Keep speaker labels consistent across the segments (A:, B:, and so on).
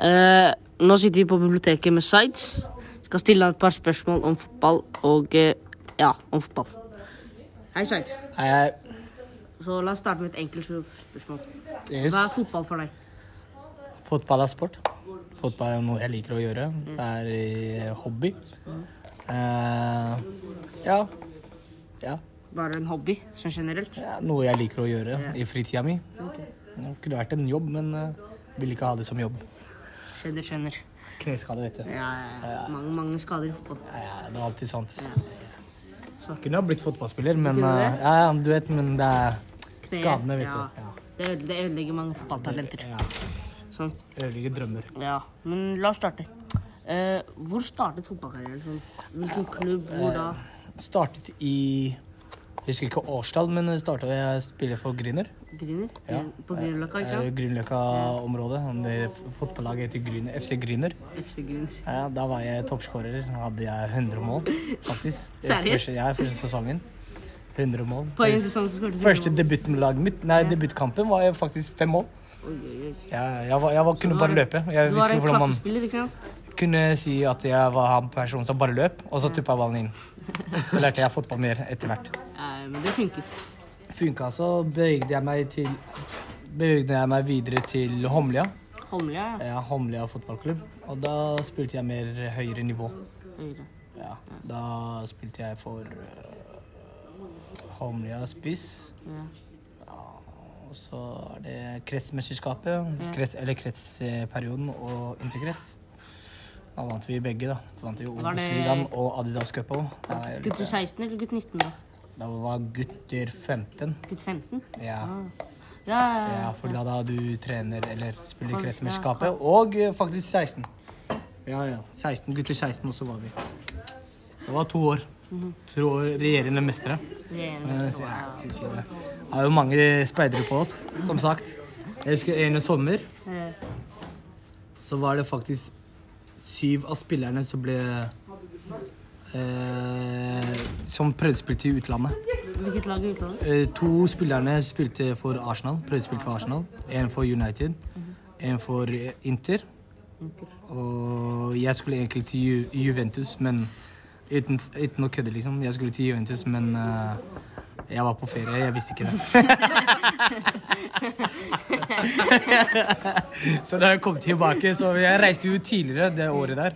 A: Eh, nå sitter vi på biblioteket med Sides. Skal stille han et par spørsmål om fotball og eh, ja, om fotball. Hei, Sides.
B: Hei, hei.
A: Så la oss starte med et enkelt sp- spørsmål.
B: Yes.
A: Hva er fotball for deg?
B: Fotball er sport. Fotball er noe jeg liker å gjøre. Det er eh, hobby. Eh, ja. ja.
A: Bare en hobby, sånn generelt?
B: Det er noe jeg liker å gjøre i fritida mi. Det kunne vært en jobb, men uh, vil ikke ha det som jobb.
A: Skjønner, skjønner.
B: Kneskade, vet du.
A: Ja, ja, ja. mange, mange skader i fotball.
B: Ja, ja, det er alltid sånt.
A: Så-
B: Kunne ha blitt fotballspiller, men
A: Kunne
B: eh,
A: det?
B: ja, ja, du vet, men det er
A: Kne,
B: skadene, vet
A: ja.
B: du. Ja.
A: Det øde- det ødelegger mange fotballtalenter.
B: Ja.
A: Sånn.
B: Ødelegger drømmer.
A: Ja, men la oss starte. Eh, hvor startet fotballkarrieren? Sånn? Hvilken klubb? Hvor da?
B: Eh, Startet i Jeg husker ikke årstall, men jeg startet ved å spille for Grüner.
A: Grüner?
B: Ja.
A: På Grünerløkka, ikke sant?
B: Grünerløkka-området. Det Fotballaget heter Grüner. FC Grüner.
A: FC Grüner.
B: Ja, da var jeg toppskårer. Da hadde jeg 100 mål, faktisk.
A: Seriøst?
B: Første, ja, første sesongen. 100 mål.
A: På en sesong så skåret
B: eh, Første debutlaget mitt, nei, debutkampen var jeg faktisk fem mål.
A: Oi, oi, oi.
B: Jeg, jeg, var, jeg var, kunne
A: Du var
B: bare
A: en-
B: løpe. Jeg
A: Du
B: visste
A: var
B: ikke
A: en
B: hvordan man
A: klassespiller, ikke sant?
B: kunne si at jeg var han personen som bare løp, og så tuppa jeg ballen inn. Så lærte jeg fotball mer etter hvert.
A: Eh, men det funker.
B: Funka, så altså, bevegde jeg meg til Bevegde jeg meg videre til Homlia.
A: Holmlia, ja.
B: Ja, Homlia fotballklubb. Og da spilte jeg mer høyere nivå.
A: Høyre.
B: Ja, da spilte jeg for øh, Holmlia spiss.
A: Ja.
B: Og så er det kretsmesterskapet, krets, eller kretsperioden og interkrets. Da vant vi begge, da. Da vant vi Obos-ligaen og Adidas Cup òg.
A: Gutt 16 eller gutt 19, da?
B: Da var gutter 15.
A: Gutt 15?
B: Ja.
A: Ja, ja, ja.
B: ja, for da, da du trener eller spiller i kretsmesterskapet. Og øh, faktisk 16. Ja, ja. 16, gutter 16, og så var vi. Så det var to år. To år regjerende mestere.
A: Ren-
B: Jeg skal si det. Det er jo mange speidere på oss, som sagt. Jeg husker en sommer,
A: Eh,
B: så var det faktisk syv av spillerne som ble eh, Som prøvespilte i utlandet.
A: Hvilket lag i utlandet?
B: Eh, to spillerne spilte for Arsenal, prøvespilte for Arsenal. En for United, en for eh, Inter. Og jeg skulle egentlig til Ju Juventus, men uten, uten å kødde, liksom. Jeg skulle til Juventus, men eh, jeg var på ferie, jeg visste ikke det. så da jeg kom tilbake, så Jeg reiste jo tidligere det året der.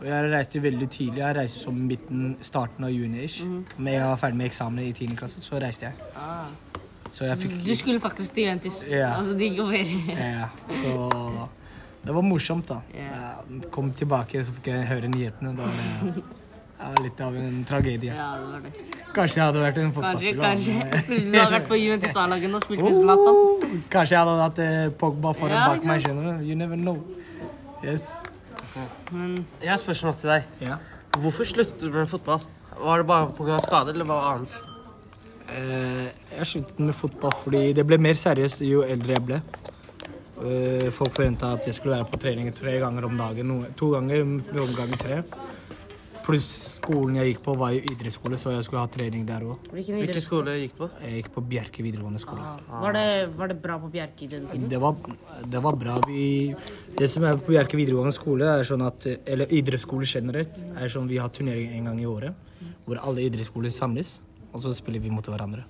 B: Og jeg reiste veldig tidlig. Jeg reiste som midten, starten av juni. ish Men jeg var ferdig med eksamen i 10. klasse, så reiste jeg. Så jeg fikk
A: Du skulle faktisk til Juventus.
B: Ja.
A: Altså, de går ferie.
B: ja, Eh, så det var morsomt, da. Jeg kom tilbake, så fikk jeg høre nyhetene. Da var det ja, litt av en tragedie.
A: Ja, det var det.
B: Kanskje jeg hadde vært en
A: Kanskje,
B: fotballspiller.
A: kanskje.
B: men- eh,
A: Plutselig har du vært på Juventus A-laget og spilt med Zlatan.
B: Oh, kanskje jeg hadde hatt eh, Pogba foran
A: Ja,
B: bak
A: ikke
B: meg. skjønner du? You never know. Yes.
C: Jeg har et spørsmål til deg.
B: Ja.
C: Hvorfor sluttet du med fotball? Var det bare pga. skade, eller var det annet?
B: Eh, jeg sluttet med fotball fordi det ble mer seriøst jo eldre jeg ble. Eh, folk forventa at jeg skulle være på trening tre ganger om dagen. noe- To ganger, noen ganger tre. Pluss skolen jeg gikk på, var jo idrettsskole, så jeg skulle ha trening der òg.
A: Hvilken
C: Hvilken skole gikk du på?
B: Jeg gikk på Bjerke videregående skole.
A: Var det, var det bra på Bjerke i den tiden?
B: Det var, det var bra. Vi, det som er på Bjerke videregående skole, er sånn at, eller idrettsskole generelt, er sånn vi har turnering en gang i året. Hvor alle idrettsskoler samles, og så spiller vi mot hverandre.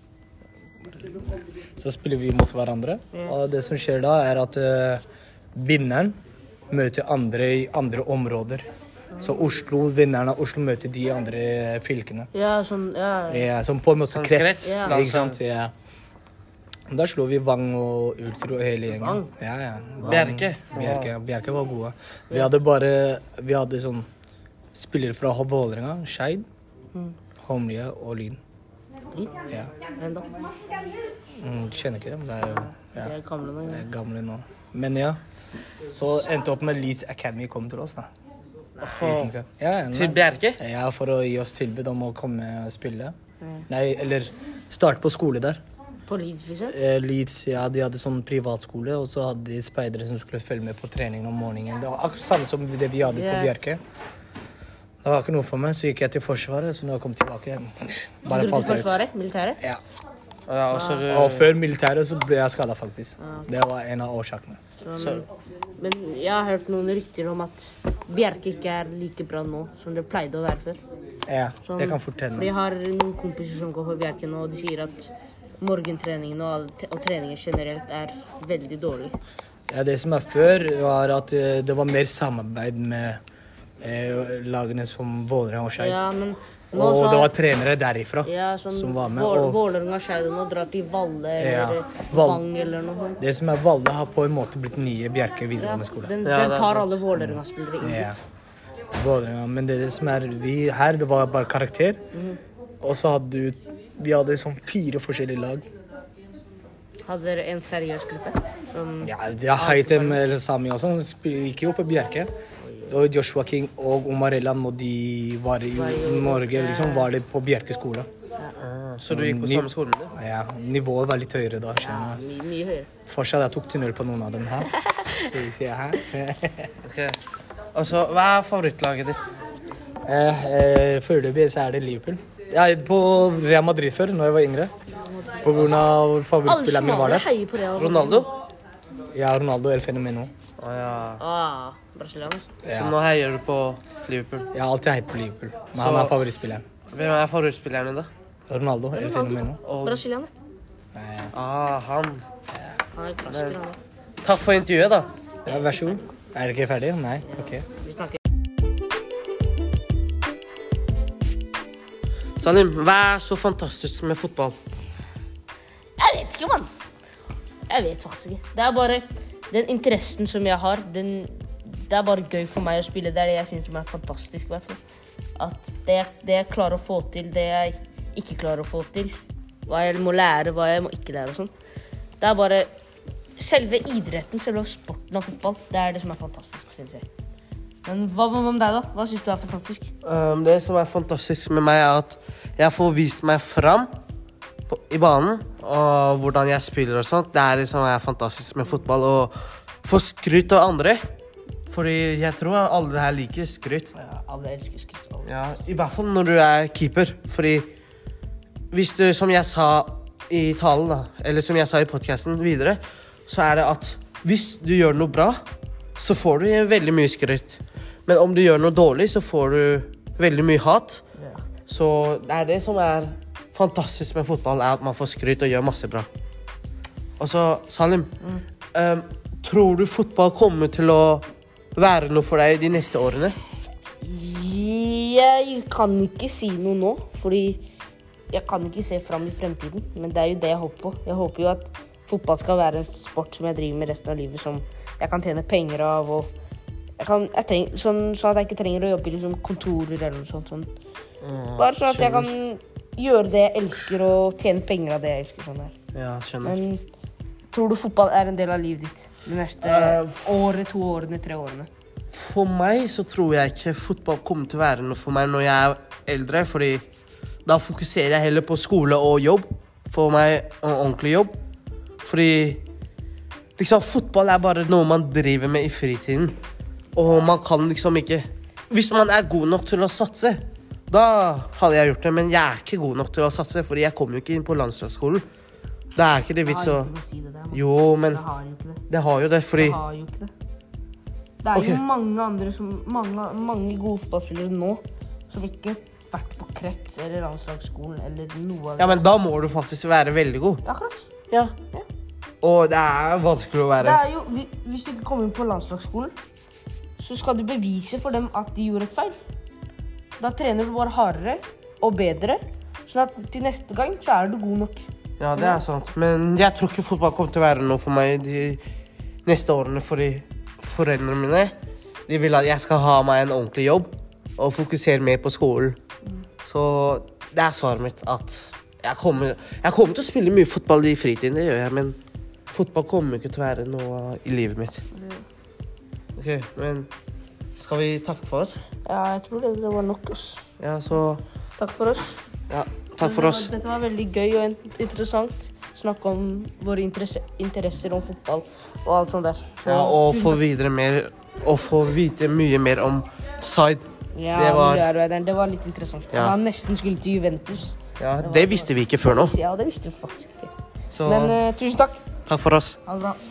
B: Så spiller vi mot hverandre, og det som skjer da, er at eh, vinneren møter andre i andre områder. Så Oslo, vinneren av Oslo møter de andre fylkene.
A: Ja, sånn, ja.
B: Ja, som på en måte
C: Sånn
B: krets.
C: krets,
B: Ja.
C: da,
B: Ikke sant? Ja. Da slo vi Vang og Ulsrud og hele gjengen. Ja, ja. Vang,
C: Bjerke.
B: Bjerke. Bjerke var gode. Vi hadde bare Vi hadde sånn spillere fra Hobb Vålerenga, Skeid,
C: Mm.
B: Holmlia og Lyn. Ja.
A: Hvem da?
B: Mm, kjenner ikke dem. Det er jo ja,
A: Jeg er gammel nå.
B: de
A: ja.
B: er gamle nå. Men ja. Så endte opp med Leeds Academy kom til oss, da. Ja, ja, nei.
C: Til Bjerke?
B: Ja, for å gi oss tilbud om å komme og spille. Nei, eller starte på skole der.
A: På Leeds, liksom?
B: Eh, Leeds, ja, de hadde sånn privatskole, og så hadde de speidere som skulle følge med på treningen om morgenen. Det var akkurat samme som det vi hadde på
A: Ja.
B: Bjerke. Det var ikke noe for meg, så gikk jeg til Forsvaret, så når jeg kom tilbake,
A: Du
B: bare
A: til
B: falt jeg ut.
A: Forsvaret? Militæret?
B: Ja.
C: Ja, og så er det
B: Og før militæret så ble jeg skada, faktisk. Det var en av årsakene.
C: så-
A: Men jeg har hørt noen rykter om at Bjerke ikke er like bra nå som det pleide å være før.
B: Ja,
A: Sånn,
B: det kan fort
A: For jeg
B: hende.
A: har noen kompiser som går på Bjerke nå, og de sier at morgentreningen og, all te- og treningen generelt er veldig dårlig.
B: Ja, det som er før, var at eh, det var mer samarbeid med eh, lagene som Vålerenga og Skeid.
A: Ja, men nå
B: Og
A: så
B: det
A: har-
B: var trenere derifra
A: ja, sånn,
B: som var med.
A: Vål-
B: Og
A: Vålerenga og Skeid nå drar til Valle
B: Ja,
A: eller
B: Val-
A: Vang eller noe sånt.
B: det som er Valle, har på en måte blitt den nye Bjerke
A: Ja,
B: videregående skole.
A: den,
C: Ja,
A: den
C: det er
A: tar
C: sant.
A: alle Vålerenga-spillere inn
B: Ja.
A: dit.
B: Vålerenga. Men det, som er vi her, det var bare karakter. Og så hadde du Vi hadde sånn fire forskjellige lag.
A: Hadde dere en seriøs gruppe? Sånn,
B: Ja, ja Haitem eller Sami også han sp- gikk jo på Bjerke. Og Joshua King og Omarella når de var i Norge, liksom, var det på Bjerke skole.
C: Ah, Så du gikk på samme skolen? du?
B: Ja, Nivået var litt høyere da. skjønner jeg.
A: mye, mye høyere.
B: Fortsatt jeg tok tunnel på noen av dem her. Sier sier jeg her.
C: Ok. Og så, hva er favorittlaget ditt?
B: Eh, eh, Foreløpig så er det Liverpool. Jeg er på Real Madrid før, når jeg var yngre. På grunn av
A: Alle
B: favorittspilleren min var
A: somaliere
B: der.
A: heier på altså. Real.
C: Ronaldo?
B: Ja, Ronaldo El Fenomeno.
C: Å ja.
A: Ah, brasilianer.
C: Så nå heier du på Liverpool.
B: Jeg har alltid heit på Liverpool, men han
C: Så-
B: er favorittspilleren.
C: Hvem er favorittspilleren din, da?
B: Ronaldo El Fenomeno.
C: Og,
A: Brasilianer.
B: Nei.
C: ah, han.
A: Han er klassiker, han. da.
C: Takk for intervjuet, da.
B: Ja, vær så god. Er dere ikke ferdig? Nei? Ok.
A: Vi snakker
C: Salim, hva er så fantastisk med fotball?
A: Jeg vet ikke, mann. Jeg vet faktisk ikke. Det er bare den interessen som jeg har, den Det er bare gøy for meg å spille. Det er det jeg syns som er fantastisk, i hvert fall. At det, det jeg klarer å få til, det jeg ikke klarer å få til, hva jeg må lære, hva jeg må ikke lære og sånn. Det er bare selve idretten, selve sporten av fotball, det er det som er fantastisk, syns jeg. Men hva hva med deg, da? Hva syns du er fantastisk?
C: Um, det som er fantastisk med meg, er at jeg får vist meg fram på, i banen. Og hvordan jeg spiller og sånt. Det er det som er fantastisk med fotball. Å få skryt av andre. Fordi jeg tror alle her liker skryt.
A: Ja, alle elsker skritt.
C: Ja, I hvert fall når du er keeper. Fordi hvis du, som jeg sa i talen, da, eller som jeg sa i podkasten videre, så er det at hvis du gjør noe bra, så får du veldig mye skryt. Men om du gjør noe dårlig, så får du veldig mye hat. Så det er det som er fantastisk med fotball, er at man får skryt og gjør masse bra. Og så, Salim, eh, tror du fotball kommer til å være noe for deg de neste årene?
A: Jeg kan ikke si noe nå, fordi jeg kan ikke se fram i fremtiden. Men det er jo det jeg håper på. Jeg håper jo at fotball skal være en sport som jeg driver med resten av livet, som jeg kan tjene penger av. og jeg kan, jeg treng, sånn, sånn at jeg ikke trenger å jobbe i liksom, kontorer eller noe sånt. Sånn. Bare sånn at jeg kan gjøre det jeg elsker, og tjene penger av det jeg elsker. sånn her.
C: Ja, skjønner.
A: Men tror du fotball er en del av livet ditt? De neste året, to årene, tre årene?
C: For meg så tror jeg ikke fotball kommer til å være noe for meg når jeg er eldre, fordi da fokuserer jeg heller på skole og jobb. For meg og ordentlig jobb. Fordi liksom fotball er bare noe man driver med i fritiden. Og man kan liksom ikke Hvis man er god nok til å satse, da hadde jeg gjort det, men jeg er ikke god nok til å satse, fordi jeg kom jo ikke inn på landslagsskolen. Da er ikke det vits å
A: å si det der,
C: Jo, men
A: har jo ikke det.
C: det har jo det, fordi
A: Jeg har jo ikke det. Det er
C: Ok.
A: jo mange andre som mange, mange gode fotballspillere nå som ikke har vært på krets eller landslagsskolen eller noe av
C: Ja,
A: det.
C: men da må du faktisk være veldig god.
A: Akkurat.
C: Ja.
A: Ja.
C: Og det er vanskelig å
A: Det
C: være
A: er jo, hvi- hvis du ikke kommer inn på landslagsskolen, så skal du bevise for dem at de gjorde et feil. Da trener du bare hardere og bedre, sånn at til neste gang så er du god nok.
C: Ja, det er sant. Men jeg tror ikke fotball kommer til å være noe for meg de neste årene. Fordi foreldrene mine de vil at jeg skal ha meg en ordentlig jobb og fokusere mer på skolen. Så det er svaret mitt at jeg kommer, jeg kommer til å spille mye fotball i fritiden, det gjør jeg, men fotball kommer ikke til å være noe i livet mitt. Ok, men skal vi takke for oss?
A: Ja, jeg tror det, det var nok. Ass.
C: Ja, så
A: Takk for oss.
C: Ja, takk for oss.
A: Dette var veldig gøy og in- interessant. Snakke om våre interesse, interesser om fotball og alt sånt der. Så-
C: Ja, og få videre mer Og få vite mye mer om Zaid.
A: ja,
C: det var-
A: miljøarbeideren, det var litt interessant.
C: Ja.
A: Han nesten skulle til Juventus,
C: Ja, det visste vi ikke før nå.
A: Ja, det visste vi faktisk ikke.
C: Så
A: Men eh, tusen takk.
C: takk for oss.
A: Ha det bra.